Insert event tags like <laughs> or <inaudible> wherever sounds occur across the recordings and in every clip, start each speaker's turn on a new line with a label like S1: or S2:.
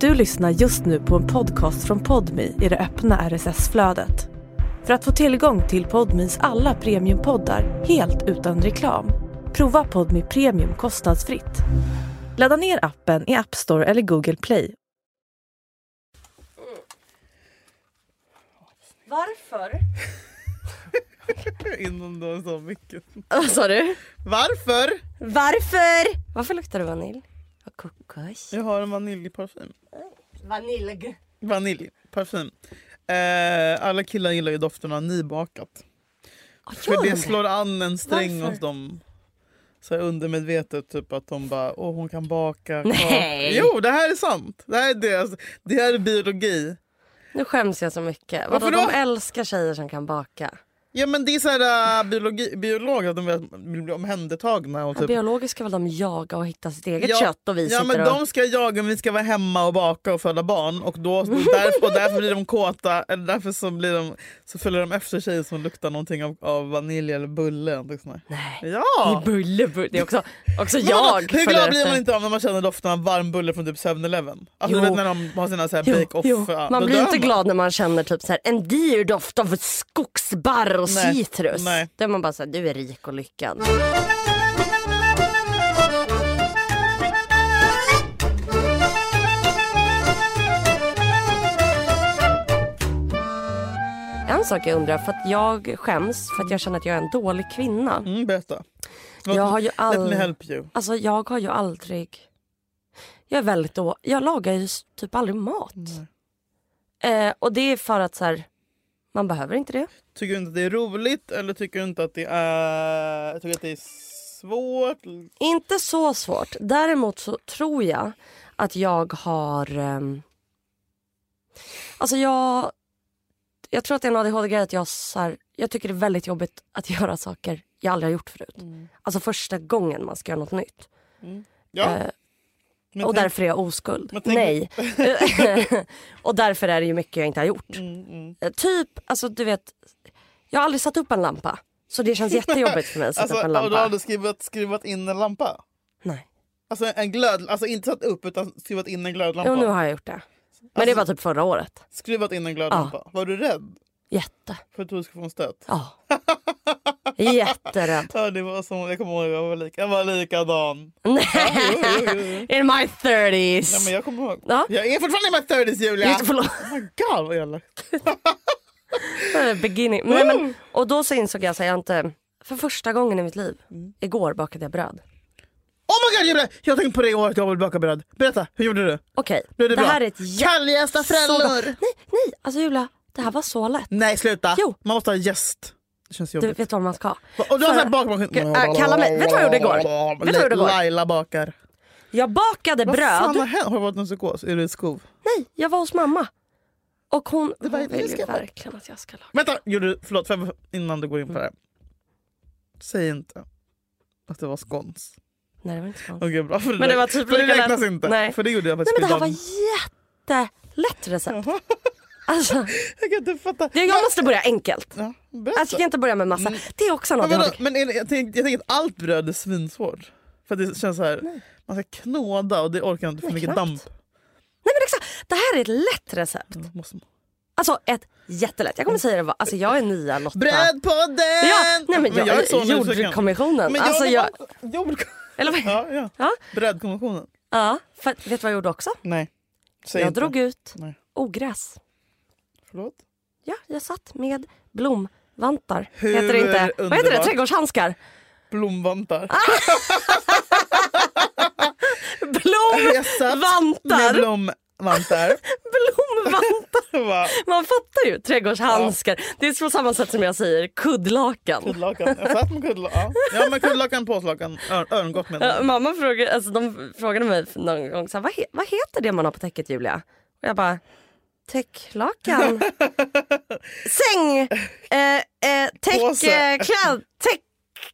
S1: Du lyssnar just nu på en podcast från Podmi i det öppna RSS-flödet. För att få tillgång till Podmis alla premiumpoddar helt utan reklam, prova Podmi Premium kostnadsfritt. Ladda ner appen i App Store eller Google Play. Varför?
S2: Innan du sa mycket. <laughs>
S3: Vad sa du?
S2: Varför?
S3: Varför? Varför luktar det vanilj? Och kokos.
S2: Jag har en vaniljparfym.
S3: Vanilj.
S2: Vaniljparfym. Eh, alla killar gillar ju doften av nybakat. För Ah, det slår an en sträng
S3: Varför?
S2: hos dem. Så här undermedvetet typ att de bara åh hon kan baka.
S3: Nej.
S2: Jo det här är sant. Det här är, deras, det här är biologi.
S3: Nu skäms jag så mycket. Vadå,
S2: Varför
S3: de
S2: då?
S3: älskar tjejer som kan baka.
S2: Ja men det är så här, äh, biologi, biologer att de vill vill bli omhändertagna. Och
S3: Typ.
S2: typ,
S3: Biologiskt ska väl de jaga och hitta sitt eget kött och vi
S2: ja,
S3: sitter
S2: men
S3: och...
S2: De ska jaga men vi ska vara hemma och baka och föda barn. Och, då, och, därför, och därför blir de kåta, eller därför så, blir de, så följer de efter tjejer som luktar någonting av, av vanilj eller bulle. eller någonting sånt där.
S3: Nej.
S2: Ja!
S3: I bulle, bulle. Det är också, också
S2: Men vadå,
S3: jag
S2: Hur
S3: följer
S2: glad blir
S3: efter.
S2: man inte av när man känner doften av varm bulle från typ 7-Eleven? Alltså, du
S3: Jo.
S2: vet när de har sina så här
S3: Jo,
S2: bake-off.
S3: jo.
S2: ja,
S3: Man
S2: då
S3: blir
S2: dör
S3: inte
S2: man.
S3: glad när man känner typ så här, en dyr doft av skogsbarr och
S2: Nej,
S3: citrus.
S2: nej.
S3: Då är man bara så här, du är rik och lyckad. En sak jag undrar, för att jag skäms för att jag känner att jag är en dålig kvinna.
S2: Mm, berätta. Låt-
S3: Jag har ju
S2: Let me
S3: aldrig...
S2: help you.
S3: Alltså jag har ju aldrig... Jag är väldigt då... Jag lagar ju s- typ aldrig mat. Eh, och det är för att så här, man behöver inte det.
S2: Tycker du inte att det är roligt eller tycker du inte att det är, tycker du att det är svårt?
S3: Inte så svårt. Däremot så tror jag att jag har... ehm, alltså jag... Jag tror att det är en ADHD-grej att jag, så här, jag tycker det är väldigt jobbigt att <laughs> göra saker jag aldrig har gjort förut. Alltså första gången man ska göra något nytt.
S2: Ja.
S3: Eh,
S2: men
S3: och
S2: tänk-
S3: därför är jag oskuld.
S2: men tänk-
S3: Nej.
S2: <laughs>
S3: <laughs> och därför är det ju mycket jag inte har gjort.
S2: Mm, mm.
S3: Eh, Typ, alltså du vet, jag har aldrig satt upp en lampa. Så det känns jättejobbigt för mig att sätta
S2: Alltså,
S3: upp en
S2: och då
S3: lampa.
S2: har du skrivit, skrivit in en lampa?
S3: Nej.
S2: Alltså en glöd, alltså inte satt upp utan skrivit in en glödlampa?
S3: Jo, nu har jag gjort det. Men det
S2: Alltså-
S3: var typ förra året.
S2: Skrivit in en glödlampa? Var du rädd?
S3: Jätte.
S2: För att du skulle få en stöt?
S3: Ja.
S2: <laughs>
S3: Jätterädd.
S2: Ja, det var som, jag kommer ihåg, jag var, lika, jag var likadan.
S3: Nej.
S2: Jo, jo, jo, jo.
S3: In my 30s.
S2: Ja, men jag kommer ihåg.
S3: Ja.
S2: Jag är fortfarande i my 30s Julia!
S3: Just, förlåt.
S2: Oh my god vad elakt.
S3: Beginning. Nej,
S2: Mm.
S3: men, och då så insåg jag att jag inte... För första gången i mitt liv,
S2: Mm.
S3: igår bakade jag bröd.
S2: Oh my god Julia! Jag har tänkt på det i året jag vill baka bröd. Berätta, hur gjorde du?
S3: Okej,
S2: Blev det,
S3: det
S2: bra?
S3: här är ett jätte...
S2: Kaljästa
S3: så-
S2: frällor!
S3: Nej, nej, alltså Julia, det här var så lätt.
S2: Nej sluta!
S3: Jo.
S2: Man måste ha gäst. Det känns
S3: Du
S2: jobbigt.
S3: vet vad man ska ha.
S2: och du har
S3: För-
S2: sån här bakmaskin.
S3: Äh, kalla mig- vet du vad jag gjorde igår? Vet du vad jag gjorde igår?
S2: Laila bakar.
S3: Jag bakade
S2: Vad fan
S3: bröd.
S2: har hänt? Har det varit någon psykos? Är det ett skov?
S3: Nej, jag var hos mamma. Och hon,
S2: var-
S3: hon
S2: jag
S3: vill ju
S2: ska-
S3: verkligen att jag ska laga.
S2: Vänta, gjorde du, förlåt för innan du går in på det här. Säg inte att det var skåns.
S3: Nej, det var inte så
S2: Okej bra, för
S3: Men det var typ
S2: för det
S3: lika
S2: räknas
S3: lätt.
S2: inte.
S3: Nej.
S2: För det gjorde jag
S3: Nej
S2: faktiskt
S3: men det här var
S2: idag.
S3: jättelätt recept. <laughs> Alltså,
S2: Jag kan inte fatta.
S3: det- jag måste börja enkelt.
S2: Ja, berätta.
S3: Alltså, jag kan inte börja med massa. Det är också en
S2: Mm. men vadå,
S3: ADHD.
S2: men är det, jag tänker jag tänker att allt bröd är svinsvårt. För att det känns så här, man ska knåda och det orkar inte för
S3: Nej,
S2: mycket
S3: knappt.
S2: damp.
S3: Nej men exakt, det här är ett lätt recept.
S2: Ja, Måste man.
S3: Alltså ett jättelätt. Jag kommer säga det, bara- alltså jag är nya Lotta.
S2: Brödpodden!
S3: Ja, nej men jag,
S2: är så nyfiken.
S3: jordkommissionen.
S2: Men jag
S3: alltså,
S2: vill
S3: jag,
S2: också- jord- <laughs>
S3: eller vad?
S2: Ja, ja.
S3: Ja,
S2: Brödkonventionen?
S3: ja för, vet du vad jag gjorde också?
S2: Nej. Säg
S3: Jag
S2: inte.
S3: drog ut
S2: Nej.
S3: ogräs.
S2: Förlåt?
S3: Ja, jag satt med blomvantar.
S2: Hur
S3: heter det inte? Vad heter det?
S2: underbart.
S3: Trädgårdshandskar.
S2: Blomvantar.
S3: Ah,
S2: <laughs> Jag satt Med
S3: Blomvantar! <laughs>
S2: blomvantar.
S3: Blomvantar!
S2: Det var
S3: Man fattar ju. Trädgårdshandskar. Det är på samma sätt som jag säger kuddlakan.
S2: kuddlakan. Jag satt med kuddlakan. Ja men kuddlakan, påslakan, örn, örngott menar
S3: Ja,
S2: jag.
S3: mamma frågade, alltså, de frågade mig någon gång så här, vad, he- vad heter det man har på täcket Julia? Och jag bara täcklakan.
S2: <laughs>
S3: Säng! Eh, eh, täck,
S2: Påse.
S3: eh, kläd, täck,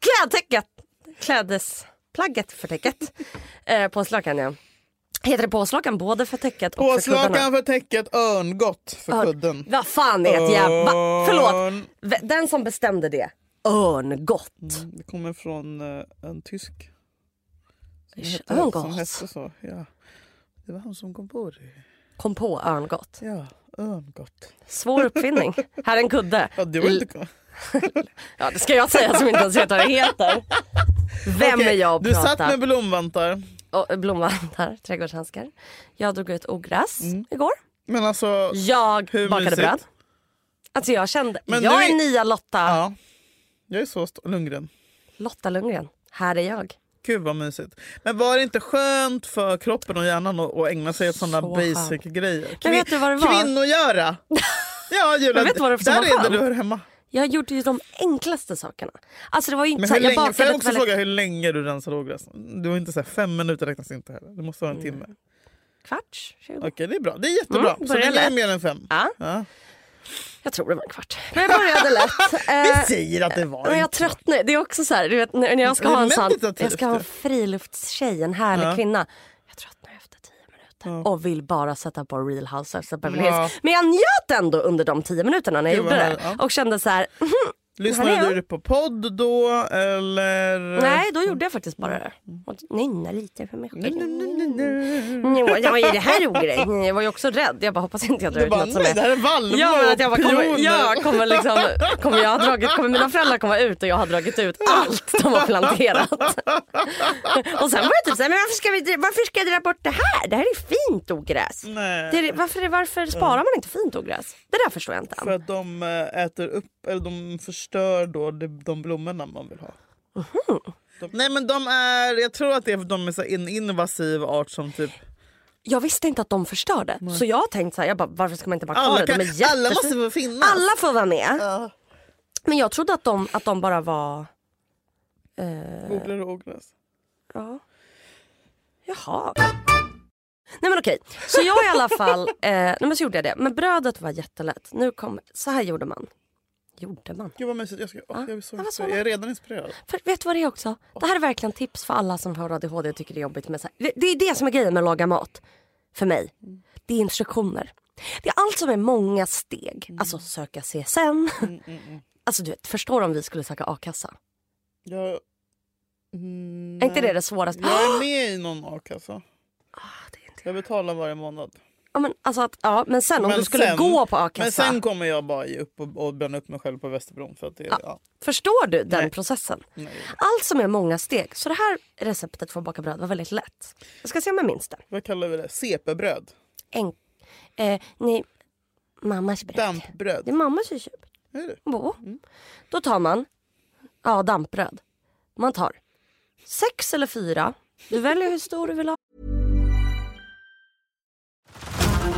S3: klädtäcket. Klädesplagget för täcket. Eh, påslakan ja. Heter det påslakan både för täcket och för kuddarna?
S2: Påslakan för täcket, örngott för kudden.
S3: Vad fan är ett jävla... Va? Förlåt.
S2: Örn.
S3: V- Den som bestämde det. Örngott.
S2: Det kommer från eh, en tysk. Mm. Som hette, som
S3: Örngott.
S2: hette så. Ja. Det var han som kom på det.
S3: kom på örngott.
S2: Ja, örngott.
S3: Svår uppfinning. här är en kudde.
S2: Ja, du har inte kommit.
S3: Ja, det ska jag säga som inte ens vet vad det heter. Vem är
S2: Okej,
S3: jag att
S2: Du
S3: prata?
S2: satt med blomvantar.
S3: och blomvantar, trädgårdshandskar. Jag drog ut ogräs igår.
S2: Men alltså...
S3: Jag
S2: Mm. Hur
S3: bakade
S2: mysigt.
S3: bröd. Alltså jag kände,
S2: Men
S3: jag
S2: nu
S3: är
S2: är-
S3: nya Lotta,
S2: Ja. Jag är så stor. Lundgren.
S3: Lotta Lundgren. Här är jag.
S2: Gud vad mysigt. Men var det inte skönt för kroppen och hjärnan att, att ägna sig åt sådana
S3: Så
S2: basic
S3: skönt.
S2: grejer?
S3: Men vet du vad det var?
S2: Kvinnogöra!
S3: <laughs>
S2: Ja Julia,
S3: Men vet du vad det var för
S2: där
S3: som var
S2: är det
S3: skönt?
S2: du hör hemma.
S3: Jag gjorde ju de enklaste sakerna. Alltså det var ju inte
S2: Men
S3: så
S2: hur
S3: här, jag
S2: länge, får
S3: bakade
S2: jag
S3: ett
S2: också
S3: väldigt
S2: fråga hur länge du rensade ogräs? Du har inte så här, fem minuter räknas inte heller. Det måste vara en timme.
S3: kvarts, 20.
S2: Okej det är bra, det är jättebra.
S3: Mm,
S2: så
S3: börjar Eh,
S2: det är
S3: lätt.
S2: mer än fem.
S3: Ja,
S2: Ja.
S3: jag tror det var en kvart. Men jag
S2: <laughs>
S3: började lätt. Eh,
S2: Vi säger att det var
S3: Men
S2: en
S3: jag tröttnar. Det är också så här, du vet, när när jag ska
S2: Det är
S3: ha en sån,
S2: meditativt
S3: jag ska ha en
S2: det.
S3: friluftstjej, en härlig
S2: Ja.
S3: kvinna. Jag tröttnar efter tio minuter och vill bara sätta på Real Housewives of Beverly Hills.
S2: Ja.
S3: Men jag njöt ändå under de tio minuterna när jag
S2: Gud,
S3: gjorde
S2: vad
S3: det.
S2: härligt, ja.
S3: Och kände så här, mhm, Här är
S2: Lyssnade du på podd då eller?
S3: nej då gjorde jag faktiskt bara det.
S2: Mm.
S3: Och nynna lite för mig
S2: Nej,
S3: själv.
S2: nej, nej, nej, nej.
S3: Jo, ja, vad är det här ogrej? Jag var ju också rädd. Jag bara hoppas inte jag drar
S2: Du
S3: ut
S2: bara,
S3: något som
S2: nej det
S3: är...
S2: här är valvor
S3: Ja, men att jag
S2: och
S3: bara, kommer,
S2: pioner.
S3: ja, kommer liksom, kommer jag ha dragit, kommer mina föräldrar komma ut och jag har dragit ut allt de har planterat. <laughs> Och sen var det typ såhär, men varför ska, vi, dra- varför ska jag dra bort det här? Det här är fint ogräs.
S2: Nej.
S3: Det är, varför, varför sparar man inte fint ogräs? Det där förstår jag inte
S2: För
S3: än.
S2: att de eh, äter upp, eller de förstör då de, de blommorna man vill ha. De, nej men de är, jag tror att det är, de är så en invasiv art som typ...
S3: Jag visste inte att de förstörde. Så jag har tänkt såhär, jag bara, varför ska man inte bara ha
S2: Alla,
S3: det?
S2: kan,
S3: De är
S2: alla
S3: jättefina.
S2: måste få finnas.
S3: Alla får vara med.
S2: Ja.
S3: Men jag trodde att de, att de bara var...
S2: Googlar du ogräs?
S3: Ja. Jaha. Nej men okej, så jag i
S2: <laughs>
S3: alla fall, eh, nej men så gjorde jag det. Men brödet var jättelätt. Nu kom, så här gjorde man. Gjorde man?
S2: Gud vad mysigt, jag, ska, åh, jag, är så
S3: Ja, vad sa
S2: inspirerad. jag är redan inspirerad.
S3: För vet du vad det är också? Det här är verkligen tips för alla som har ADHD och tycker det är jobbigt med så här. Det, det är det som är grejen med att laga mat. För mig. Det är instruktioner. Det är allt som är många steg.
S2: Mm.
S3: Alltså söka CSN. Alltså du vet, förstår om vi skulle söka a-kassa.
S2: Jag, mm,
S3: <gasps> Är inte det det svåraste?
S2: jag är med i någon a-kassa.
S3: Ah, det är inte-
S2: Jag betalar varje månad.
S3: Ja men alltså att, ja men sen om
S2: Men
S3: du skulle
S2: sen-
S3: gå på
S2: Men
S3: a-kassa.
S2: sen kommer jag bara ge upp och, och bränna upp mig själv på Västerbron. För att det, ja.
S3: Förstår du den processen?
S2: nej.
S3: Allt som är många steg. Så det här receptet för att baka bröd var väldigt lätt. Jag ska se om jag minns det.
S2: Vad kallar vi det? CP-bröd?
S3: En, eh, nej, mammas bröd. Det
S2: Dampbröd?
S3: är mamma som köper.
S2: Är det?
S3: Bo. Då tar man ja, dampbröd. Man tar sex eller fyra. Du väljer hur stor du vill ha.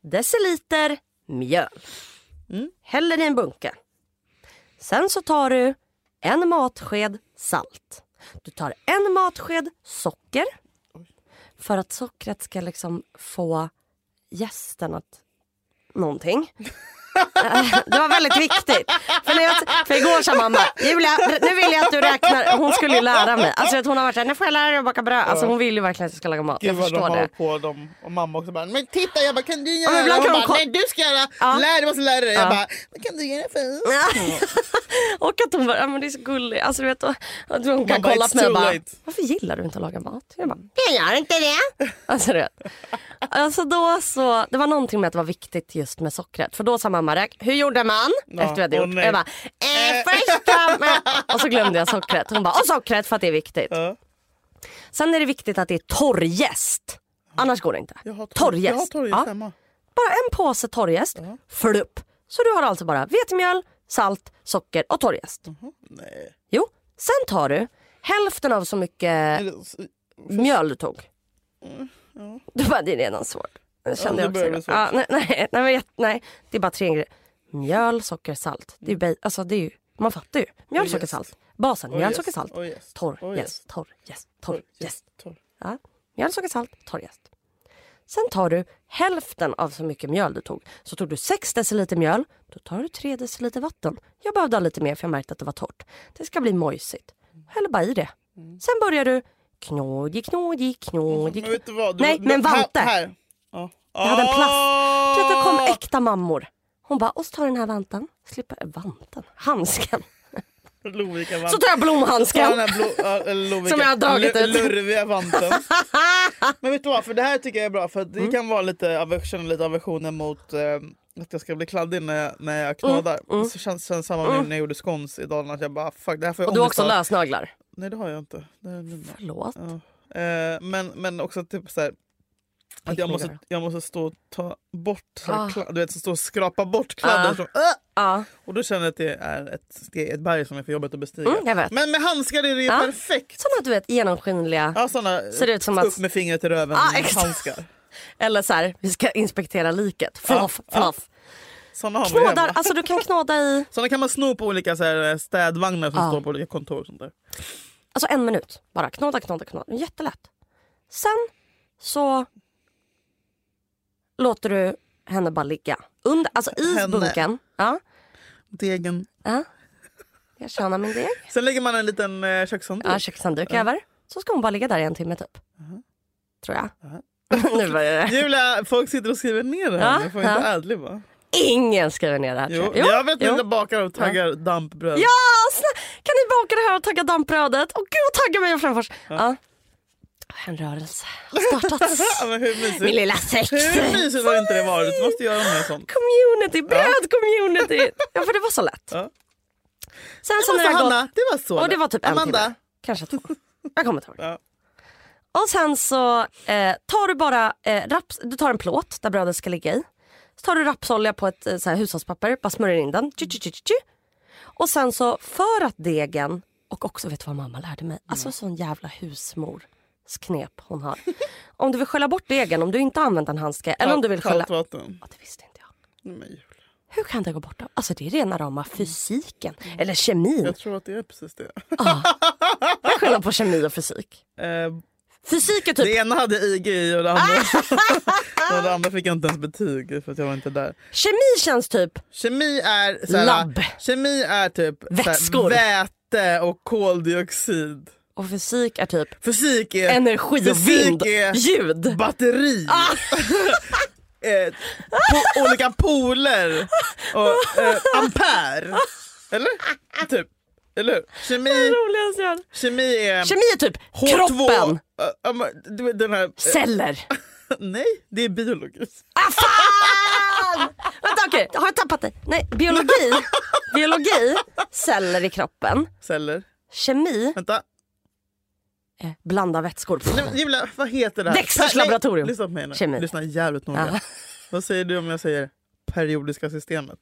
S3: deciliter mjöl.
S2: Mm.
S3: Häller i en bunke. Sen så tar du en matsked salt. Du tar en matsked socker. För att sockret ska liksom få gästen att
S2: <laughs>
S3: någonting. Eh, Det var väldigt viktigt. För, när jag, för igår sa mamma, Julia nu vill jag att du räknar. Hon skulle ju lära mig. Alltså att hon har varit såhär, nu får jag lära dig att baka bröd. Alltså hon vill ju verkligen att jag ska laga mat.
S2: Gud
S3: Jag
S2: vad de
S3: förstår
S2: har
S3: det.
S2: på dem. Och mamma också bara, men titta jag bara, kan du
S3: men
S2: göra?
S3: ibland
S2: Och hon
S3: kan
S2: bara,
S3: de ko-
S2: nej du ska göra.
S3: Ja.
S2: Lär dig, måste lära dig. Jag bara, men kan du göra för oss?
S3: och att hon bara, ja, men det är så gullig. Alltså, du vet, och, och hon kan
S2: bara,
S3: kolla
S2: "It's
S3: på mig
S2: too
S3: och bara,
S2: late."
S3: varför gillar du inte att laga mat? Jag bara, jag gör inte det. Alltså, du vet. alltså då så, det var någonting med att det var viktigt just med sockret. För då sa mamma, "Räk- hur gjorde man? Efter vi hade
S2: åh
S3: gjort.
S2: nej.
S3: Jag bara, eh, först tar man-" Och så glömde jag sockret. Hon bara, och sockret för att det är viktigt.
S2: Ja.
S3: Sen är det viktigt att det är torrjäst. Annars går det inte.
S2: Jag har torr-
S3: torrjäst.
S2: Jag har torrjäst
S3: Ja.
S2: hemma.
S3: Bara en påse torrjäst,
S2: Mm.
S3: flupp. Så du har alltså bara vetemjöl, salt, socker och torrjäst.
S2: Mm. Nej.
S3: Jo, sen tar du hälften av så mycket
S2: Är det-
S3: mjöl du tog. Du bara, det är redan svårt. Det kände
S2: Mm. Ja,
S3: jag
S2: det
S3: också.
S2: börjar bli svårt.
S3: Ja, nej, nej, nej, men jag- nej, det är bara tre grejer. Mjöl, socker, salt. Det är ju, ba- alltså, det är ju, man fattar ju. Mjöl,
S2: Och
S3: socker,
S2: jäst.
S3: salt. Basen,
S2: Och
S3: mjöl,
S2: jäst,
S3: socker, salt.
S2: och jäst,
S3: Torr,
S2: och
S3: jäst,
S2: jäst.
S3: torr, jäst, torr, jäst.
S2: Torr.
S3: Ja. Mjöl, socker, salt, torr jäst. Sen tar du hälften av så mycket mjöl du tog. Så tog du 6 deciliter mjöl, då tar du 3 deciliter vatten. Jag behövde ha lite mer för jag märkte att det var torrt. Det ska bli mojsigt. Häll bara i det. Sen börjar du knådig, knådig, knådig.
S2: Men vet du vad? Du,
S3: Nej, men vante.
S2: Här, Ah! här. Ja.
S3: Jag hade en plast. Vet du, Det kom äkta mammor. Hon bara, och så tar jag den här vanten. Slipper, vanten? Handsken.
S2: Lovika vante.
S3: Så tar
S2: Ta den
S3: jag blomhandsken.
S2: här blå, ja, eller lovika,
S3: Som jag har dragit
S2: lu-
S3: ut.
S2: Lurviga
S3: <laughs>
S2: vanten. Men vet du vad, för det här tycker jag är bra. För
S3: Mm.
S2: att Det kan vara lite aversion, lite aversionen mot eh, att jag ska bli kladdig när jag, när jag knådar.
S3: Mm,
S2: Så känns, känns samma nu när jag gjorde scones i Dalarna. Att jag bara fuck det här får jag
S3: Och du har
S2: ångest
S3: också
S2: av.
S3: lösnaglar.
S2: Nej det har jag inte. Det är mina.
S3: Förlåt.
S2: Ja. Eh, men, men också typ så här. Att jag, måste, jag måste stå och ta bort, så här,
S3: Ah.
S2: kla- du vet, så stå och skrapa bort kladden.
S3: Ah.
S2: Från,
S3: Ja.
S2: och då känner jag att det är ett, steg, ett berg som är för jobbigt att bestiga.
S3: Mm, jag vet.
S2: Men med handskar är det ju
S3: Ah.
S2: perfekt.
S3: Sådana du vet genomskinliga.
S2: Ja, såna,
S3: Ser det ut som att-
S2: upp med fingret i röven
S3: Ah, exakt.
S2: handskar.
S3: Eller så här, vi ska inspektera liket. Fluff,
S2: Ja,
S3: fluff.
S2: Såna har man ju
S3: Knådar,
S2: hemma.
S3: alltså du kan knåda i
S2: Såna kan man sno på olika så här, eh, städvagnar som
S3: Ja.
S2: står på olika kontor. Och sånt där.
S3: alltså en minut. Bara knåda, knåda, knåda. Jättelätt. Sen så låter du henne bara ligga. Under, alltså i
S2: Henne.
S3: bunken. Ja,
S2: Degen.
S3: ja. Jag tjänar min deg.
S2: Sen lägger man en liten eh, kökshandduk.
S3: Ja, kökshandduk över. Så ska hon bara ligga där i en timme typ.
S2: Mhm.
S3: Tror jag. <laughs> nu
S2: <laughs>
S3: börjar det.
S2: Julia, folk sitter och skriver ner det här.
S3: Ja,
S2: Ja, får
S3: ja.
S2: inte adliba.
S3: Ingen skriver ner det här.
S2: Jo,
S3: tror jag.
S2: jag vet
S3: jo.
S2: inte bakar och taggar dampbröd.
S3: Ja, snä- kan ni baka det här och tagga dampbrödet? Åh gud, tagga mig och Frändfors. Ja. En rörelse
S2: <laughs>
S3: har startats.
S2: Ja, men hur mysigt.
S3: Min lilla sex.
S2: Hur mysigt har inte det varit? Du måste göra mer sånt.
S3: Community, bröd community. Ja, för det var så lätt.
S2: Ja.
S3: Sen så
S2: Det var,
S3: Alltså, när det
S2: så,
S3: har
S2: Hanna,
S3: gått,
S2: det var så.
S3: och det var typ en
S2: Amanda,
S3: timme. Kanske två. Jag kommer inte ihåg.
S2: <laughs> Ja.
S3: Och sen så eh, tar du bara eh, raps, du tar en plåt där brödet ska ligga i. Så tar du rapsolja på ett eh, så här, hushållspapper, bara smörjer in den. Tju, tju, tju, tju, tju. Och sen så för att degen, och också vet du vad mamma lärde mig? Alltså sån jävla husmors knep hon har. om du vill skölja bort degen, om du inte har använt en handske eller om du vill skölja...
S2: Kallt vatten.
S3: Ja, det visste inte jag.
S2: Men Julia,
S3: Hur kan det gå bort? då? Alltså det är rena rama fysiken. Eller kemin.
S2: Jag tror att det är precis det.
S3: Typ. Vad är skillnaden på kemi och fysik?
S2: Eh,
S3: Fysik är typ...
S2: Det ena hade IG i och det andra,
S3: <laughs>
S2: och det andra fick jag inte ens betyg för att jag var inte där.
S3: Kemi känns typ...
S2: Kemi är, såhär,
S3: Labb.
S2: Kemi är typ såhär
S3: Vätskor.
S2: väte och koldioxid.
S3: Och fysik är typ...
S2: Fysik är
S3: energi och
S2: Eh, fysik
S3: vind,
S2: är <laughs>
S3: ljud.
S2: batteri. eh, po- olika poler och eh, ampere. Eller? Typ. Eller hur? Kemi, kemi är
S3: Kemi är typ
S2: H2.
S3: kroppen,
S2: Eh, ja, men du vet den här, eh, <laughs>
S3: celler.
S2: nej, det är biologi.
S3: Ah, fan! Vänta okej, har jag tappat dig? Nej, biologi. biologi, celler i kroppen.
S2: Celler.
S3: Kemi,
S2: Vänta.
S3: eh, blanda vätskor.
S2: Nej, men Julia, vad heter det här?
S3: Dexters
S2: Per- nej,
S3: laboratorium.
S2: Lyssna på mig nu.
S3: Kemi.
S2: Lyssna jävligt noga.
S3: Ja.
S2: Vad säger du om jag säger periodiska systemet?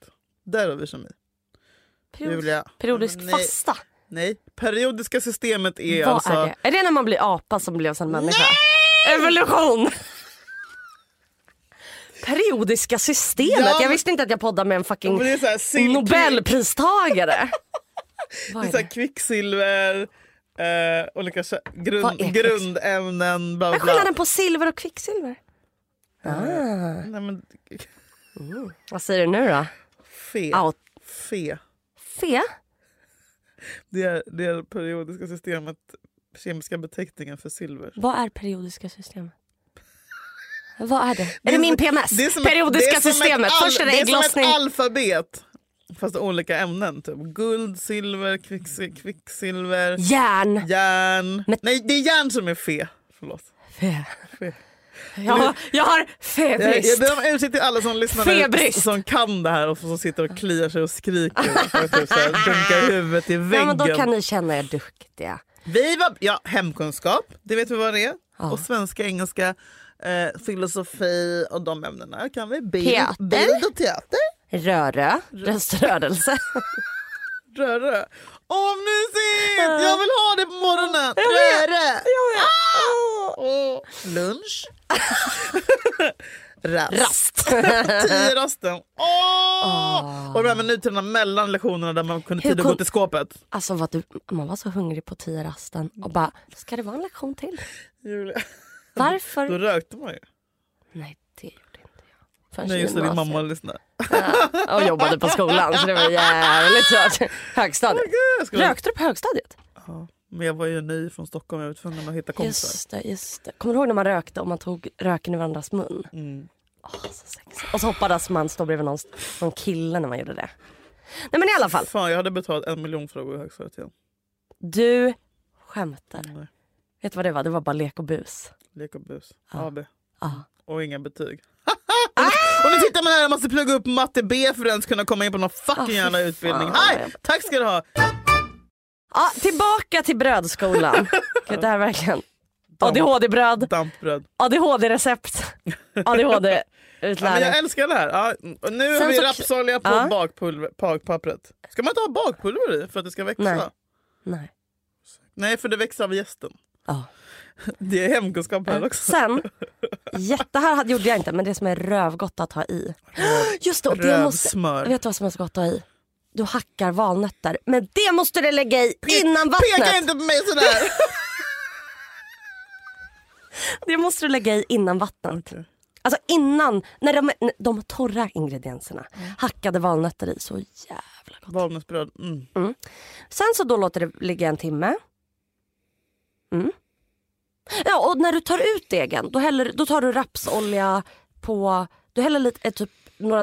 S2: Där har vi kemi.
S3: Periodisk,
S2: Julia.
S3: periodisk
S2: Nej,
S3: fasta.
S2: Nej, periodiska systemet är
S3: Vad
S2: alltså...
S3: är det? Är det när man blir apa som blev sen människa? Evolution! Periodiska systemet.
S2: Ja,
S3: jag
S2: men-
S3: visste inte att jag poddade med en fucking
S2: Men det är så här silk- <laughs>
S3: Nobelpristagare. Vad
S2: Det
S3: är
S2: är så här
S3: det?
S2: kvicksilver, eh, olika kä-
S3: Vad är
S2: grund,
S3: kvicksilver?
S2: grundämnen, bla
S3: Vad är
S2: bla. bla.
S3: skillnaden på silver och kvicksilver? Ah.
S2: Nej, men,
S3: Vad säger du nu då?
S2: fe.
S3: Out.
S2: fe.
S3: Fe?
S2: Det är det är periodiska systemet, kemiska beteckningen för silver.
S3: Vad är periodiska systemet? Vad är det? är det
S2: är
S3: min
S2: som-
S3: PMS?
S2: det är som ett-
S3: periodiska
S2: det är som ett
S3: systemet.
S2: al-
S3: Först är det ägglossning.
S2: Det är som ett alfabet. Fast olika ämnen. Typ. Guld, silver, kvicksil- kvicksilver,
S3: Järn.
S2: järn.
S3: Men-
S2: Nej, det är järn som är fe. Förlåt.
S3: Fe.
S2: Fe.
S3: Jag, har- jag har
S2: Jag,
S3: febrist.
S2: jag ber om ursäkt till alla som lyssnar där ute
S3: Febrist.
S2: som kan det här och som sitter och kliar sig och
S3: <laughs>
S2: skriker. och typ så här dunkar huvudet i
S3: Ja,
S2: väggen.
S3: men då kan ni känna er duktiga.
S2: Vi var, ja, hemkunskap, det vet vi vad det är. Och svenska, engelska, eh, filosofi och de ämnena kan vi. Bild,
S3: Teater.
S2: bild och teater.
S3: Röra, röströrelse.
S2: Röre. Åh mysigt! Jag vill ha det på morgonen.
S3: <laughs>
S2: Röre. Och lunch. <laughs> Rast.
S3: Rast. <laughs>
S2: Tio rasten. Åh! Och de här minuterna mellan lektionerna där man kunde
S3: Ah. Hur
S2: tid att gå
S3: kon-
S2: till skåpet.
S3: Alltså vad du, man var så hungrig på tio rasten och bara, ska det vara en lektion till?
S2: Julia. Då
S3: Varför?
S2: rökte man ju.
S3: Alltså, Nej, det gjorde inte jag. Förrän
S2: Nej just det, din
S3: gymnasiet.
S2: mamma lyssnade.
S3: Och jobbade på skolan så det var jävligt svårt. Högstadiet.
S2: Oh Jag skulle-
S3: Rökte du på högstadiet?
S2: Men jag var ju ny från Stockholm, jag var tvungen att hitta kompisar.
S3: Just det, just det. Kommer du ihåg när man rökte och man tog röken i varandras mun?
S2: Mm.
S3: Åh, så sexigt. Och så hoppades man stå bredvid någon, någon kille när man gjorde det. Nej men i alla fall.
S2: Fan jag hade betalat en miljon för att gå i högstadiet igen.
S3: Du skämtar.
S2: Nej.
S3: Vet du vad det var? Det var bara lek och bus.
S2: Lek och bus.
S3: Ah.
S2: AB.
S3: Ja.
S2: Och inga betyg. <laughs>
S3: Ah!
S2: och nu tittar man här, jag måste plugga upp matte B för att ens kunna komma in på någon fucking
S3: Ah, fy
S2: jävla utbildning.
S3: fan.
S2: Hej! Tack ska du ha!
S3: Ja, tillbaka till <laughs> brödskolan. Gud, det här är verkligen. ADHD-bröd,
S2: Dampbröd. <laughs>
S3: ADHD-recept,
S2: Ja, men jag
S3: ADHD-utlärning.
S2: älskar det här. Ja, och nu
S3: Sen
S2: har vi
S3: så-
S2: rapsolja på
S3: Ja.
S2: bakpulver, bakpappret. Ska man inte ha bakpulver i för att det ska växa?
S3: Nej. Nej.
S2: Nej, för det växer av gästen.
S3: Ja.
S2: <laughs> Det är hemkunskap här också.
S3: Sen, jätte, här hade- gjorde jag inte, men det som är rövgott att ha i. Just det, och det måste,
S2: Rövsmör.
S3: vet du vad som är så gott att ha i? Du hackar valnötter, men det måste du lägga i
S2: <laughs>
S3: innan
S2: Peka
S3: vattnet.
S2: inte på mig sådär!
S3: <laughs> Det måste du lägga i innan vattnet. Alltså innan, när de, när de torra ingredienserna. Hackade valnötter i, så jävla gott.
S2: Valnötsbröd. Mm.
S3: Sen så då låter det ligga en timme. Mm. Ja, och när du tar ut degen, då, häller, då tar du rapsolja på... Du häller lite, eh, typ några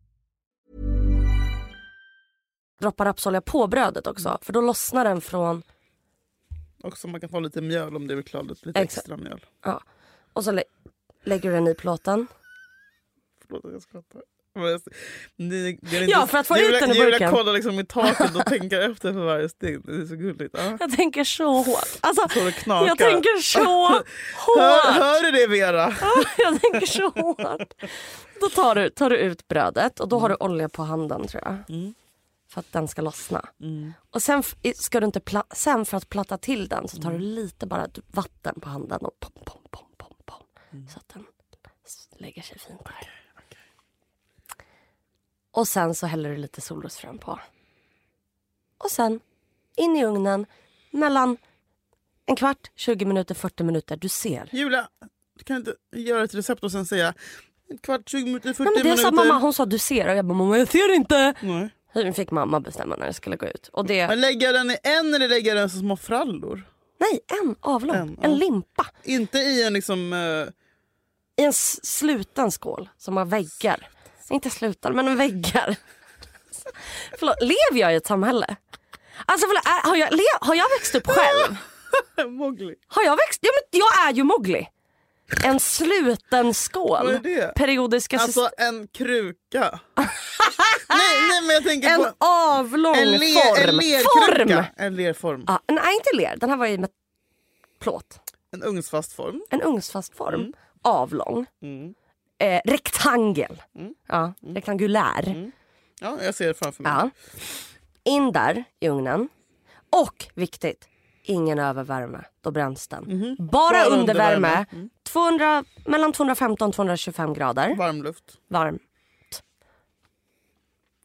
S3: droppa rapsolja på brödet också för då lossnar den från...
S2: Och så man kan ta lite mjöl om det är beklagligt. Lite
S3: Exakt.
S2: extra mjöl.
S3: Ja. Och så lä- lägger du den i plåten.
S2: Förlåt att jag skrattar. Men jag- Ni, det är
S3: Ja, för att få ut den ur
S2: Julia
S3: burken.
S2: kollar liksom i taket
S3: <laughs>
S2: och tänker efter för varje steg. Det är så gulligt. Ja.
S3: Jag tänker så hårt. Alltså,
S2: Så det knakar.
S3: jag tänker <laughs> så
S2: Hör,
S3: hårt.
S2: hör du det Vera?
S3: <laughs> Jag tänker så hårt. Då tar du, tar du ut brödet och då har du olja på handen tror jag. För att den ska lossna. Och sen, f- i- ska du inte pla- sen för att platta till den så tar du lite bara du- vatten på handen och pom, pom, pom, pom, pom. Så att den s- lägger sig fint där. Och sen så häller du lite solrosfrön på. Och sen in i ugnen mellan en kvart, 20 minuter, 40 minuter. Du ser.
S2: Julia, du kan inte göra ett recept och sen säga en kvart, 20 minuter, 40
S3: Nej, men det
S2: minuter.
S3: sa mamma, hon sa du ser och jag bara mamma jag ser inte.
S2: Nej.
S3: Nu fick mamma bestämma när det skulle gå ut. Och det,
S2: Men lägga den i en eller lägga den som små frallor?
S3: nej en avlång,
S2: En,
S3: en,
S2: ja.
S3: limpa
S2: Inte i en liksom... eh,
S3: i en s- sluten skål som har väggar. Inte sluten men en väggar. <laughs> förlåt, lever jag i ett samhälle? Alltså förlåt, är, har, jag, le, har jag växt upp själv?
S2: Mowgli.
S3: Har jag växt? Ja, men jag är ju Mowgli. En sluten skål.
S2: Vad är det?
S3: Periodiska
S2: Alltså
S3: system.
S2: en
S3: <laughs>
S2: kruka. nej, nej, men jag tänker
S3: En
S2: på...
S3: avlång
S2: En, le,
S3: form.
S2: en
S3: form.
S2: lerkruka. En lerform.
S3: Ja, Ah, nej inte ler, den här var ju med plåt.
S2: En ugnsfast form.
S3: en ugnsfast form, avlång, eh, rektangel, ja, rektangulär.
S2: Ja, jag ser det framför mig.
S3: Ja. In där i ugnen. Och viktigt, ingen övervärme, då bränns den. Mhm. Bara,
S2: under
S3: undervärme, Mm.
S2: värme.
S3: 200, mellan 215-225 grader,
S2: Varmluft.
S3: varmt.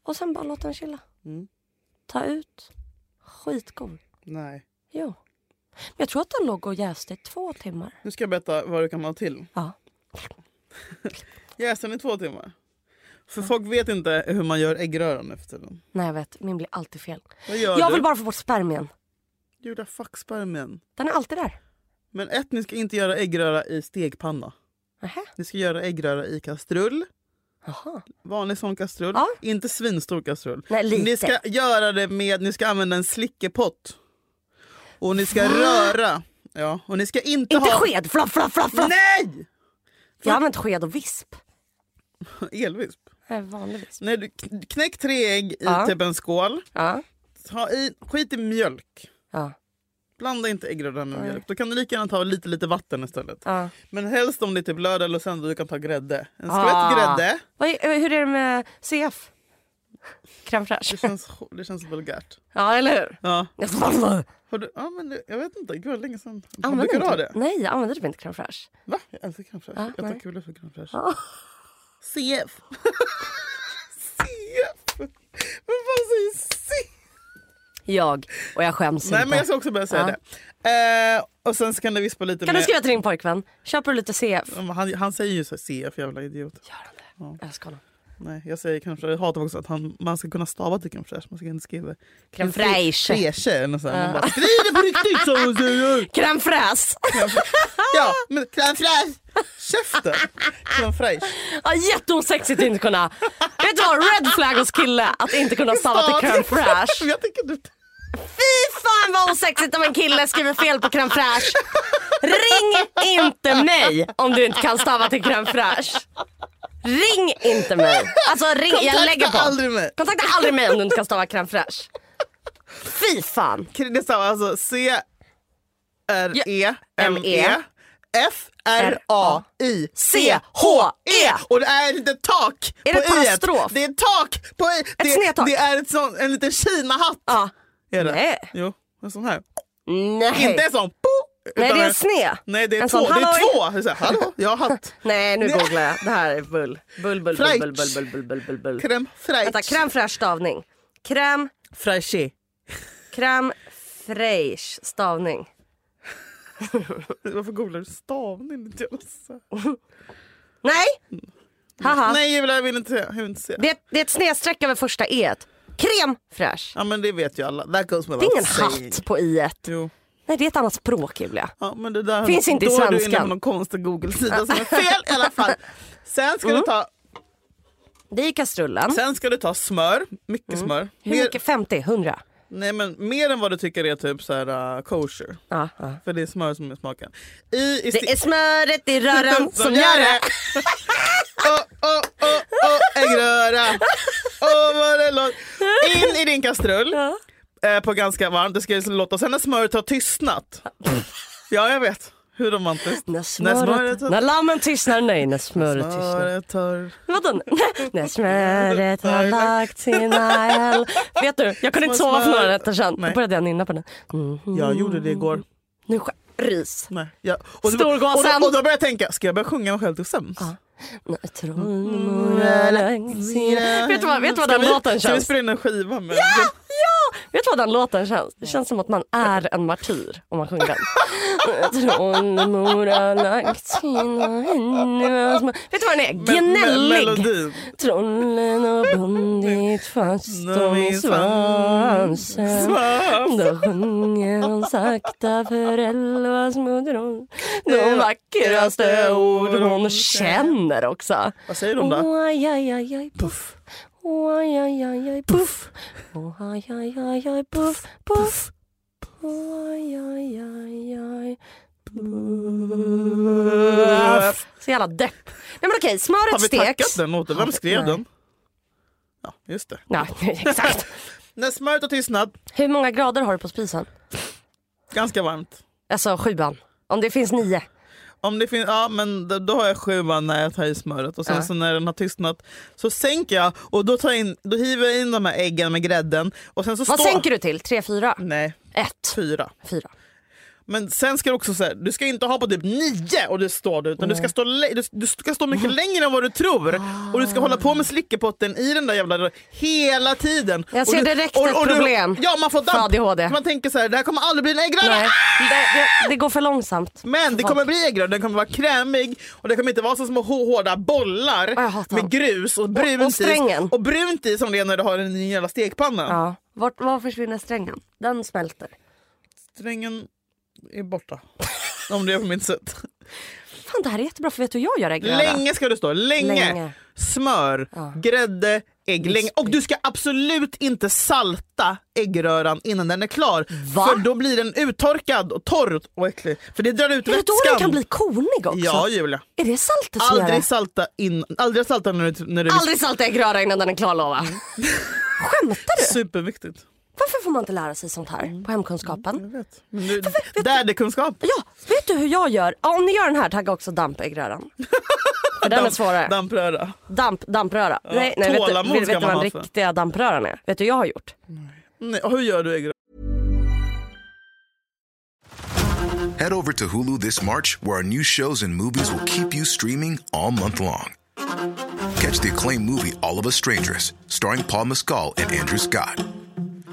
S3: Och sen bara låt den chilla. Ta ut, skitgod.
S2: Nej.
S3: Jo. Men jag tror att den låg och jäste i två timmar.
S2: Nu ska jag berätta vad du kan ha till.
S3: Ja.
S2: Jäser i två timmar. För folk vet inte hur man gör äggröran nu för tiden.
S3: Nej jag vet, min blir alltid fel.
S2: Vad gör
S3: jag
S2: du?
S3: vill bara få bort spermien.
S2: Julia, fuck spermien.
S3: Den är alltid där.
S2: Men ett, ni ska inte göra äggröra i stekpanna.
S3: Nähä.
S2: Ni ska göra äggröra i kastrull.
S3: Jaha.
S2: Vanlig sån kastrull.
S3: Ja.
S2: Inte svinstor kastrull.
S3: Nej, lite.
S2: Ni ska göra det med, ni ska använda en slickepott. Och ni ska röra. Ja, och ni ska inte,
S3: Inte
S2: ha...
S3: sked! Flaff, flaff, flaff, flaff.
S2: Nej! <laughs>
S3: Jag har använt sked och visp.
S2: Elvisp.
S3: Nej, vanlig visp.
S2: Nej, du kn- knäck tre ägg i
S3: Ja.
S2: typ en skål.
S3: Ja.
S2: Ta i, skit i mjölk.
S3: Ja.
S2: Blanda inte äggröra med mjölk. Då kan du lika gärna ta lite, lite vatten istället.
S3: Ja.
S2: Men helst om det är typ lördag eller söndag, du kan ta grädde. En skvätt
S3: Ah.
S2: grädde.
S3: Vad är, hur är det med CF? Crème
S2: Det
S3: fraîche?
S2: känns, det känns vulgärt.
S3: Ja, eller hur?
S2: Ja.
S3: Jag
S2: Har du, ja, men det- jag vet inte, gud vad länge sedan. Man
S3: använder
S2: brukar du ha
S3: inte-
S2: det?
S3: Nej, jag använder typ inte crème fraîche.
S2: Va? Jag älskar crème fraîche.
S3: Ja,
S2: jag tar
S3: nej.
S2: kulor för crème fraîche.
S3: Ja.
S2: CF. CF. Vem fan säger CF?
S3: Jag, och jag skäms
S2: Nej
S3: inte.
S2: men jag ska också börja säga
S3: Ja.
S2: det. Eh, och sen så kan du vispa lite
S3: Kan du
S2: med...
S3: skriva till din pojkvän? Köper du lite CF?
S2: Han, han säger ju så här, CF jävla idiot.
S3: Gör han det? Jag älskar honom.
S2: Nej, jag säger crème fraîche. Jag hatar också att han, man ska kunna stava till crème fraîche. Man ska inte skriva...
S3: Crème fraîche.
S2: Fraîche. eller så här. Man bara, skriv det på riktigt som hon säger.
S3: Crème fraîche!
S2: <laughs> Ja, men crème fraîche. Käften. Crème fraîche.
S3: Ja, jätteosexigt att inte kunna. Vet du vad? Red flag hos kille att inte kunna stava till crème fraîche.
S2: Jag tänker du...
S3: Fy fan vad osexigt om en kille skriver fel på crème fraîche. Ring inte mig om du inte kan stava till crème fraîche. Ring inte mig. Alltså ring, jag lägger på.
S2: Kontakta aldrig mig.
S3: Kontakta aldrig mig om du inte kan stava crème fraîche. Fy fan.
S2: Det stavar alltså C R E M E
S3: M-E.
S2: F R A I C H E och det är ett litet tak
S3: Är
S2: på
S3: det ett
S2: i-et.
S3: passtrof?
S2: Det är ett tak på i. Det,
S3: snedtak.
S2: det är ett sån, en liten kinahatt.
S3: Ja.
S2: Är det?
S3: Nej.
S2: Jo, en sån här.
S3: Nej.
S2: Inte en sån. po,
S3: Nej
S2: utan
S3: det är en sned.
S2: Nej det är
S3: en
S2: två.
S3: sån
S2: det är
S3: halloj.
S2: två. Det är så här, hallå, jag har hatt.
S3: Nej nu
S2: Nej.
S3: googlar jag. Det här är bull. Bull bull bull
S2: Frejt.
S3: bull bull bull bull bull bull bull.
S2: Crème
S3: Vänta
S2: fraîche.
S3: crème fraîche stavning. Crème
S2: Fraîche.
S3: crème fraîche stavning.
S2: Varför googlar du stavning? Det är jävla så-
S3: Nej. Haha.
S2: Nej Julia, jag vill inte se. Jag vill inte se.
S3: Det, det är ett snedstreck över första e. Crème fraîche.
S2: Ja men det vet ju alla. That goes
S3: Det är
S2: without
S3: ingen
S2: saying.
S3: hatt på i et.
S2: Jo.
S3: Nej det är ett annat språk Julia.
S2: Ja, men det där,
S3: Finns inte i
S2: då är du inne på
S3: svenskan.
S2: någon konstig Google-sida som är fel i alla fall. Sen
S3: Mm.
S2: ska, du ta,
S3: Det är i kastrullen.
S2: sen ska du ta smör, mycket smör.
S3: Mm. Hur
S2: Mer,
S3: mycket? 50? 100?
S2: nej, men mer än vad du tycker är typ så här, uh, kosher.
S3: Ja, ja.
S2: För det är smör som är smaken. I, i
S3: Det är smöret i röran <laughs> som gör det.
S2: <laughs> Åh, åh, åh, åh, äggröra. Åh, vad det låter. In i din kastrull. Eh, på ganska varmt. Det ska liksom låta. Sen när smöret har
S3: <laughs>
S2: tystnat. Ja, jag vet. Hur romantiskt.
S3: När smöret...
S2: har
S3: När lammen tystnar, nej när smöret tystnar.
S2: Smöret har...
S3: Vadå? När smöret har lagt sina äl... Vet du, jag kunde inte sova för några nätter sedan.
S2: Nej.
S3: Då började jag nynna på den. Mm,
S2: Jag gjorde det igår.
S3: nu sk- Ris.
S2: Nej. Jag, och, då, och,
S3: Storgåsen.
S2: då, och då började jag tänka, ska jag börja sjunga mig själv till sömns? Mm.
S3: När Trollmora har lagt sina- Vet du vad, vet du vad den
S2: vi,
S3: låten
S2: Ska vi
S3: känns? Ah,
S2: spela in en skiva med...
S3: Vet du vad den låten känns? Det känns som att man är en martyr om man sjunger den. Trollmora har lagt sina händer... Vet du vad den är?
S2: med- med-
S3: Gnällig!
S2: Melodin.
S3: Trollen har bundit fast dem i svansen
S2: Svans.
S3: Då sjunger de sakta för elva små dron De vackraste ord hon känner också.
S2: Vad säger de då?
S3: Oj, aj, aj, aj, puff. Oj, aj, aj, aj, puff. Oj, aj, aj, aj, puff, puff. Oj, aj, aj, aj, puff. Så jävla depp. Nej men okej,
S2: Har
S3: smöret
S2: vi
S3: steks.
S2: tackat den låten? Vem skrev den? Ja, just det.
S3: Ja, <laughs> exakt.
S2: När smöret har tystnat,
S3: Hur många grader har du på spisen?
S2: ganska varmt.
S3: Alltså sjuan. Om det finns nio.
S2: Om det finns, ja, men då, då har jag sjuan när jag tar i smöret och sen
S3: Ja.
S2: så när den har tystnat så sänker jag och då, tar jag in, då hiver jag in de här äggen med grädden. Och sen så
S3: Vad
S2: står,
S3: sänker du till? Tre, fyra?
S2: Nej,
S3: Ett,
S2: Mm. fyra.
S3: fyra.
S2: Men sen ska du också säga, du ska inte ha på typ nio och det står du, utan du ska stå, lä- du, du ska stå mycket
S3: Mm.
S2: längre än vad du tror. Och du ska hålla på med slickepotten i den där jävla hela tiden.
S3: Ah. Jag ser
S2: och du,
S3: direkt ett problem
S2: Du, ja, man får
S3: för ADHD.
S2: Man tänker så här, det här kommer aldrig bli en äggröra.
S3: Nej, det, det, det går för långsamt.
S2: Men det kommer bli äggröra, den kommer vara krämig och det kommer inte vara så små hå- hårda bollar
S3: Ah, jag hatar
S2: med
S3: dem.
S2: grus och brunt
S3: och strängen.
S2: i. Och brunt i som det är när du har den i jävla stekpannan.
S3: Ja. Vart, var försvinner strängen? Den smälter.
S2: Strängen är borta. <laughs> Om det är på mitt sätt.
S3: Fan, det här är jättebra för vet du hur jag gör äggröra?
S2: Länge ska du stå. Länge.
S3: Länge.
S2: Smör, grädde, ägg. Länge. Och du ska absolut inte salta äggröran innan den är klar.
S3: Va?
S2: För då blir den uttorkad och torr och äcklig. För det drar ut
S3: Är det då
S2: vätskan.
S3: den kan bli kornig också?
S2: Ja, Julia.
S3: Är det saltet som gör
S2: Aldrig
S3: det?
S2: salta, in, aldrig salta när du... När du
S3: Aldrig salta äggröra innan den är klar lova. Skämtar du?
S2: Superviktigt.
S3: Varför får man inte lära sig sånt här på
S2: Mm.
S3: hemkunskapen?
S2: Men du, där är det kunskap.
S3: Ja, vet du hur jag gör? Ja, om ni gör den här, tagga också dampäggröran. För den är svårare.
S2: Dampröra.
S3: Damp, dampröra. nej, nej, vet du,
S2: tålamod
S3: vet,
S2: ska
S3: vet du
S2: man
S3: vad
S2: ha
S3: den
S2: för.
S3: riktiga dampröran är? Vet du hur jag har gjort?
S2: Nej, och hur gör du äggröra?
S4: Head over to Hulu this March, where our new shows and movies will keep you streaming all month long. Catch the acclaimed movie All of Us Strangers, starring Paul Mescal and Andrew Scott.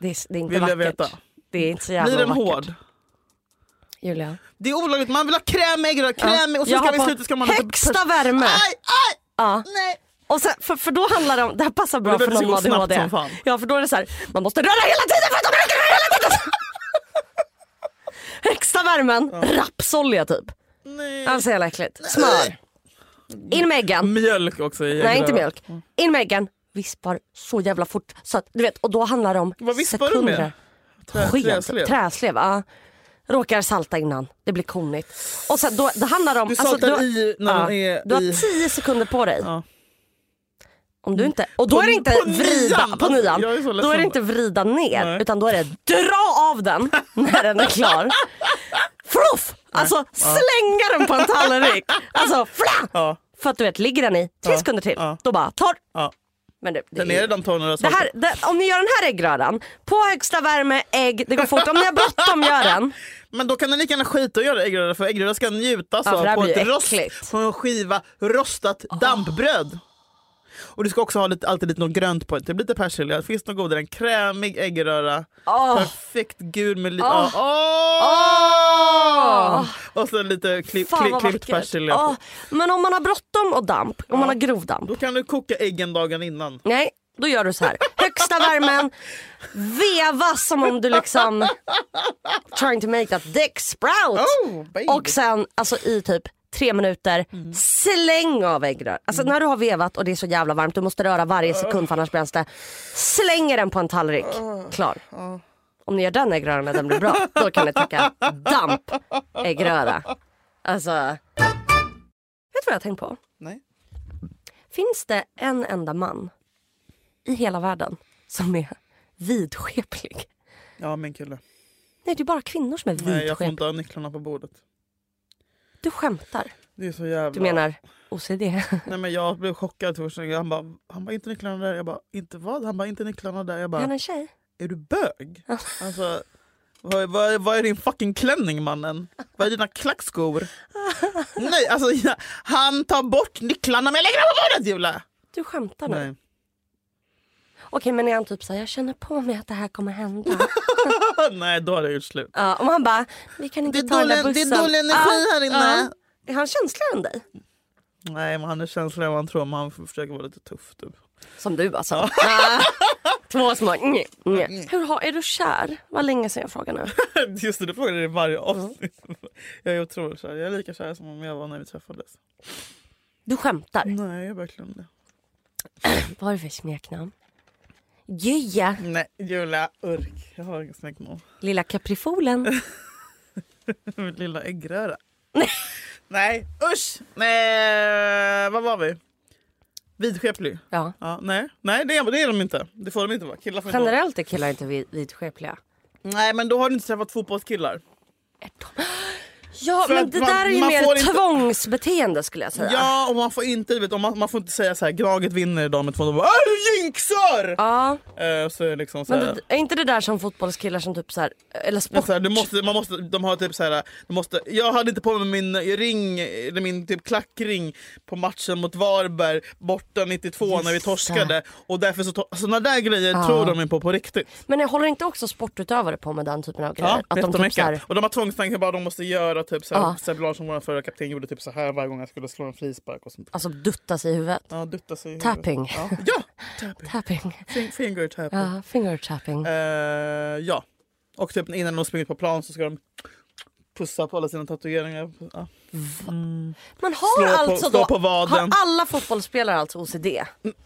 S3: Det är, det är inte
S2: Vill jag
S3: vackert.
S2: veta.
S3: Det är inte så jävla
S2: Blir den
S3: vackert.
S2: hård?
S3: Julia.
S2: Det är olagligt, man vill ha kräm, äggröra, kräm och så
S3: Jag
S2: ska
S3: har
S2: vi
S3: på
S2: sluta ska man ha lite
S3: högsta
S2: pers-
S3: värme.
S2: Aj, aj!
S3: Ja.
S2: Nej.
S3: Och sen, för, för då handlar det om, det här passar bra
S2: Men det
S3: för någon med
S2: går snabbt
S3: ADHD.
S2: som fan.
S3: Ja för då är det så här, man måste röra hela tiden för att de röker hela tiden. <laughs> Högsta värmen, rapsolja typ. Nej. Alltså jävla äckligt. Smör. In med äggen.
S2: Mjölk också i äggröra.
S3: Nej inte mjölk. In med äggen. Vispar så jävla fort. Så att, du vet, och då handlar det om
S2: Vad vispar du med?
S3: sekunder.
S2: Trä-
S3: Sked,
S2: träslev.
S3: träslev. Ja. Råkar salta innan, det blir konigt. Och sen, då, det handlar om... alltså,
S2: Du saltar
S3: har-
S2: i när de är
S3: Du har
S2: i-
S3: 10 sekunder på dig.
S2: Ja.
S3: Om du inte, och då
S2: På-
S3: är det inte
S2: på
S3: vrida
S2: nian.
S3: på nian.
S2: Jag är så ledsen.
S3: Då är det inte vrida ner
S2: Nej.
S3: utan då är det dra av den när den
S2: <laughs>
S3: är klar. Fruff! Alltså slänga den på en tallrik. Alltså fla!
S2: Ja.
S3: För att du vet, ligger den i tre sekunder till,
S2: Ja.
S3: då bara torr.
S2: Ja.
S3: Men det, det
S2: Den
S3: är-
S2: är redan torr några
S3: det här, det, om ni gör den här äggröran, på högsta värme, ägg, det går fort. Om ni har bråttom, gör den.
S2: Men då kan den lika gärna skita och göra äggröra för äggröra ska njutas
S3: Ja, för det
S2: av
S3: här
S2: på
S3: blir
S2: ett
S3: ju
S2: rost,
S3: äckligt.
S2: på en skiva rostat dampbröd. Och du ska också ha lite, alltid lite något grönt på det, typ lite persilja. Det finns något godare än krämig äggröra. Perfekt gul med lite... Åh! Och sen lite klipp,
S3: Fan
S2: klipp,
S3: vad
S2: klippt
S3: vackert.
S2: persilja.
S3: Ja, men om man har bråttom och damp, om man har grov damp.
S2: Då kan du koka äggen dagen innan.
S3: Nej, då gör du så här. Högsta värmen, veva som om du liksom trying to make that dick sprout.
S2: Oh, baby. Mm.
S3: och sen alltså i typ tre minuter, släng av äggrör. Alltså när du har vevat och det är så jävla varmt, du måste röra varje sekund för annars bränns det. Slänger den på en tallrik,
S2: Oh,
S3: klar. Om ni gör den äggröran när den blir bra, då kan ni tacka damp äggröra. Alltså, vet du vad jag har tänkt på?
S2: Nej.
S3: Finns det en enda man i hela världen som är vidskeplig?
S2: Ja min kille.
S3: Nej, det är bara kvinnor som är
S2: Nej, jag får
S3: vidskepliga.
S2: inte ha nycklarna på bordet.
S3: Du skämtar.
S2: Det är så jävla...
S3: Du menar OCD?
S2: Nej men jag blev chockad första gången. Han bara, han bara inte nycklarna där. Jag bara, inte vad? Han bara, inte nycklarna där. Jag
S3: Är
S2: bara,
S3: <laughs> han en tjej?
S2: är du bög? Alltså, vad, vad, vad är din fucking klänning mannen? Vad är dina klackskor? Nej, alltså jag, han tar bort nycklarna men jag lägger dem på bordet Julia!
S3: Du skämtar nu?
S2: Nej. <laughs>
S3: Okej, men är han typ så här, jag känner på mig att det här kommer hända.
S2: <laughs> Nej, då har det gjort slut.
S3: Ja, om han bara, vi kan
S2: Det
S3: inte
S2: är
S3: ta den där
S2: dålig- det är
S3: bussen.
S2: dålig energi här inne.
S3: ja. Är han känsligare än dig?
S2: Nej, men han är känsligare än vad han tror men han försöker vara lite tuff. Typ. <laughs>
S3: Som du alltså. Ah. Två små nj, nj. Hur har, är du kär? Vad länge sedan jag frågar nu.
S2: Just det, du frågar det i varje avsnitt. Jag är otroligt kär. Jag är lika kär som om jag var när vi träffades.
S3: Du skämtar.
S2: Nej, jag är verkligen det.
S3: Vad har du för smeknamn? Gyja.
S2: Nej, Julia Urk. Jag har inget smeknamn. <laughs>
S3: Lilla kaprifolen.
S2: Mitt lilla <laughs> äggröra. Nej, usch! Nej, vad var eh, vi? Vidskeplig?
S3: Ja.
S2: Ja, nej, nej det, är, det är de inte. Det får de inte vara. Killar får inte vara.
S3: Generellt är killar inte vid- vidskepliga.
S2: Nej men då har du inte träffat fotbollskillar.
S3: Ja,
S2: För
S3: men
S2: att
S3: det
S2: man-
S3: där är ju
S2: man får
S3: mer
S2: inte-
S3: tvångsbeteende skulle jag säga.
S2: Ja och man får inte, du vet, och man, man får inte säga så här Gnaget vinner idag med 2-0. Då bara, "Åh, Du jinxar!
S3: Ja,
S2: Eh, så är det liksom så
S3: men
S2: här,
S3: det, är inte det där som fotbollskillar som typ så här, eller
S2: Men
S3: sport...
S2: så här, du måste, man måste, de har typ så här, de måste, jag hade inte på mig min ring, eller min typ klackring på matchen mot Varberg borta 92 när vi
S3: Just
S2: torskade.
S3: det.
S2: Och därför så, to- sådana där grejer tror de ju på på riktigt.
S3: Men jag håller inte också sportutövare på med den typen av grejer?
S2: Ja,
S3: att de typ så här,
S2: Och de har tvångstankar bara de måste göra typ så här,
S3: Ja.
S2: Sebbe Larsson, vår förra kapten, gjorde typ så här varje gång han skulle slå en frispark och sånt.
S3: alltså dutta sig i huvudet.
S2: Ja, dutta sig i huvudet.
S3: Tapping.
S2: Ja, ja tapping.
S3: Tapping.
S2: Fin- Finger tapping.
S3: Ja, finger tapping.
S2: Eh, ja. Och typ innan de springer på plan så ska de pussa på alla sina tatueringar. Ja.
S3: Men har
S2: slå på-
S3: alltså
S2: slå
S3: då,
S2: på
S3: har
S2: vaden.
S3: alla fotbollsspelare alltså OCD?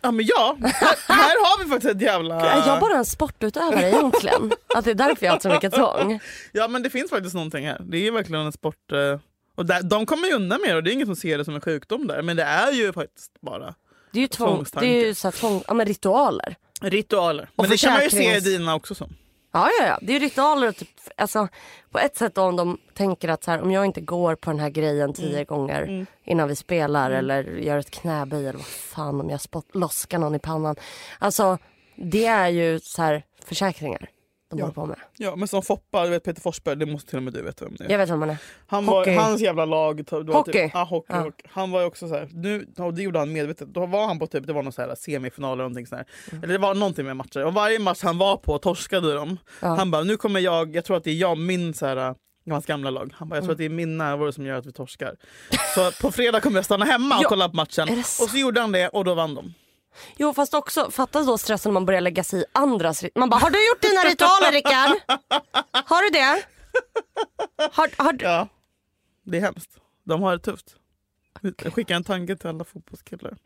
S2: Ja men ja, här, här har vi faktiskt ett jävla...
S3: Är jag bara en sportutövare egentligen? Att det är därför jag har haft så mycket tvång?
S2: Ja men det finns faktiskt någonting här. Det är verkligen en sport... eh, Och där, de kommer ju undan med det och det är ingen som ser det som en sjukdom där. Men det är ju faktiskt bara
S3: Det är ju, tvång, det
S2: Tvångstanke.
S3: är ju så här tvång, ja, men ritualer.
S2: ritualer.
S3: Och
S2: Men det kan man ju se i
S3: försäkrings-
S2: dina också som.
S3: Ja, ja, ja. Det är ju ritualer. och Typ, alltså, på ett sätt då, om de tänker att så här, om jag inte går på den här
S2: Mm.
S3: grejen tio gånger innan vi spelar eller gör ett knäböj eller vad fan om jag spott, loskar någon i pannan. Alltså, det är ju så här, försäkringar de håller på med.
S2: Ja men som Foppa, du vet Peter Forsberg, det måste till och med du veta vem det är.
S3: Jag vet vad man är.
S2: Han var,
S3: Hockey.
S2: hans jävla lag... det var
S3: Hockey.
S2: Typ, ja, hockey,
S3: Ja.
S2: hockey. Han var ju också så här, nu, och det gjorde han medvetet. Då var han på typ, det var någon så här semifinal eller någonting sånt.
S3: Mm.
S2: här. Eller det var någonting med matcher. Och varje match han var på torskade de. Han bara, nu kommer jag, jag tror att det är jag, min så här, äh, hans gamla lag. Han bara, jag tror att det är
S3: Mm.
S2: min närvaro som gör att vi torskar. Så på fredag kommer jag stanna hemma och
S3: Ja.
S2: kolla på matchen.
S3: Är det
S2: Och så gjorde han det och då vann de.
S3: Jo, fast också, fattas då stressen när man börjar lägga sig i andras rit- Man bara, har du gjort dina ritualer Rickard? Har du det? Har, har, du-
S2: Ja. Det är hemskt. De har det tufft. Jag skickar en tanke till alla fotbollskillar.
S3: Typ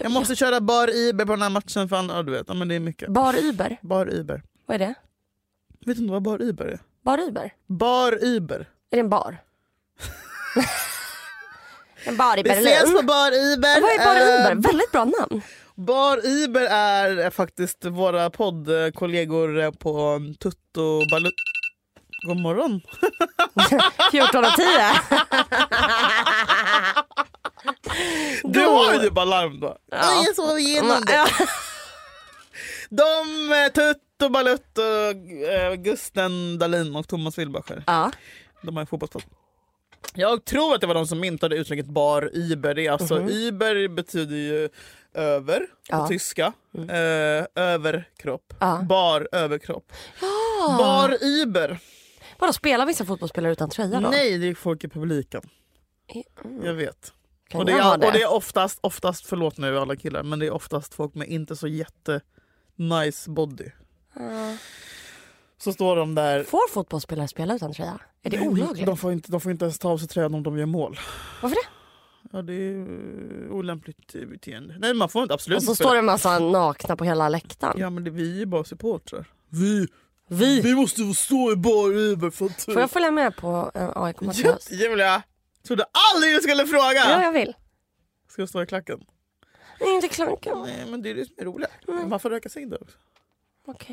S2: Jag måste köra bar Iber på den här matchen för annars, ja, du vet, ja, men det är mycket.
S3: Bar Iber,
S2: Bar Iber.
S3: vad är det?
S2: Vet du inte vad Bar Iber är?
S3: Bar Iber?
S2: Bar Iber.
S3: Är det
S2: <laughs>
S3: en bar? en bar i
S2: Vi ses på
S3: Berlin.
S2: Bar Iber.
S3: Vad är Bar Iber?
S2: Eh,
S3: Väldigt bra namn.
S2: bar Iber är faktiskt våra poddkollegor på Tutto Balut... God morgon.
S3: 14 och 10.
S2: <laughs> Du har ju bara larm då.
S3: Ja.
S2: Jag sov igenom det.
S3: Ja.
S2: De, eh, Tutto Balutto, eh, Gusten Dahlin och Thomas Wilbacher.
S3: Ja.
S2: De har ju fotbollspodd. Jag tror att det var de som myntade uttrycket bar Iber. Det är alltså, Iber betyder ju över på
S3: Mhm. Ja. Mm.
S2: tyska. Eh, överkropp.
S3: Ja.
S2: Bar överkropp. Bar Iber.
S3: Vadå, spelar vissa fotbollsspelare utan tröja då?
S2: Nej, det är folk i publiken. Jag vet.
S3: mm. Kan
S2: och det
S3: jag ha
S2: är,
S3: det?
S2: och det är oftast, oftast, förlåt nu alla killar, men det är oftast folk med inte så jätte nice body. Så står de där.
S3: Får fotbollsspelare spela utan tröja? Är det
S2: De
S3: olagligt?
S2: får, inte, de får inte ens ta av sig tröjan om de gör mål.
S3: Varför det?
S2: Ja, det är eh, olämpligt eh, beteende. Nej, man får inte absolut
S3: Och så
S2: inte
S3: Alltså, står det
S2: spela.
S3: en massa nakna på hela läktaren.
S2: Ja, men det, vi är ju bara supportrar. Vi,
S3: Vi.
S2: vi måste få stå i bar Iber för att...
S3: Får jag följa med på en AIK-match i
S2: Ja,
S3: höst?
S2: Julia! Trodde aldrig du skulle fråga!
S3: Ja, jag vill.
S2: Ska jag stå i klacken?
S3: Nej, inte klanka. Okej.
S2: Nej, men det är det som är roligt. Man får röka cigg då också.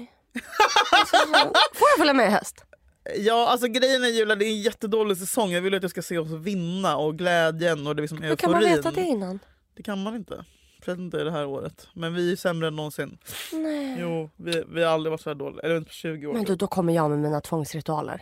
S3: Får jag följa med i höst?
S2: Ja, alltså grejen är Julia, det är en jättedålig säsong. Jag vill att jag ska se oss vinna och glädjen och det är liksom euforin.
S3: Hur kan man veta det innan?
S2: Det kan man inte. Speciellt inte det här året. Men vi är sämre än någonsin. Nej. Jo, vi, vi har aldrig varit så här dåliga. Eller inte på 20 år.
S3: Men du, då kommer jag med mina tvångsritualer.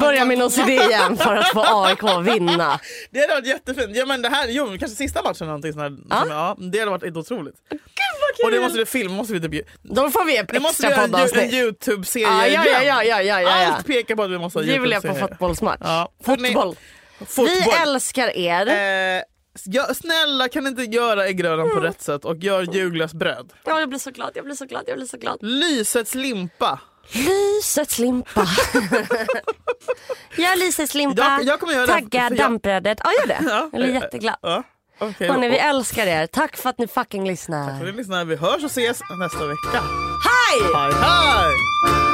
S3: Börja med någon idé igen för att få AIK att vinna.
S2: Det hade varit jättefint. Ja, men det här, jo, kanske sista matchen eller någonting sån här, som, ja, Det hade varit helt otroligt. Gud vad kul! Och det måste vi filma. Måste vi typ,
S3: Då får vi ett
S2: det måste vi göra
S3: extra
S2: en, ju- en
S3: poddavsnitt.
S2: Youtube-serie
S3: Ja, ja, ja,
S2: igen.
S3: ja, ja, ja, ja.
S2: Allt pekar på att vi måste ha
S3: Julia på
S2: Youtube-serie.
S3: fotbollsmatch.
S2: Ja.
S3: Fotboll.
S2: Fotboll.
S3: Vi älskar Mm. er.
S2: Eh, ja, snälla kan ni inte göra äggröran på rätt sätt och gör Julias bröd.
S3: Ja, jag blir så glad, jag blir så glad, jag blir så glad.
S2: Lysets limpa. <laughs>
S3: Lysets limpa. Gör Lysets limpa.
S2: Jag- jag kommer göra det,
S3: Tagga
S2: för jag-
S3: dampbrödet. Ja, gör det.
S2: Ja.
S3: Jag blir jätteglad.
S2: Ja. Okej,
S3: Hörni, vi
S2: och-
S3: älskar er. Tack för att ni fucking lyssnar.
S2: och ni lyssnar. Vi hörs och ses nästa vecka.
S3: Hej!
S2: Hej hej!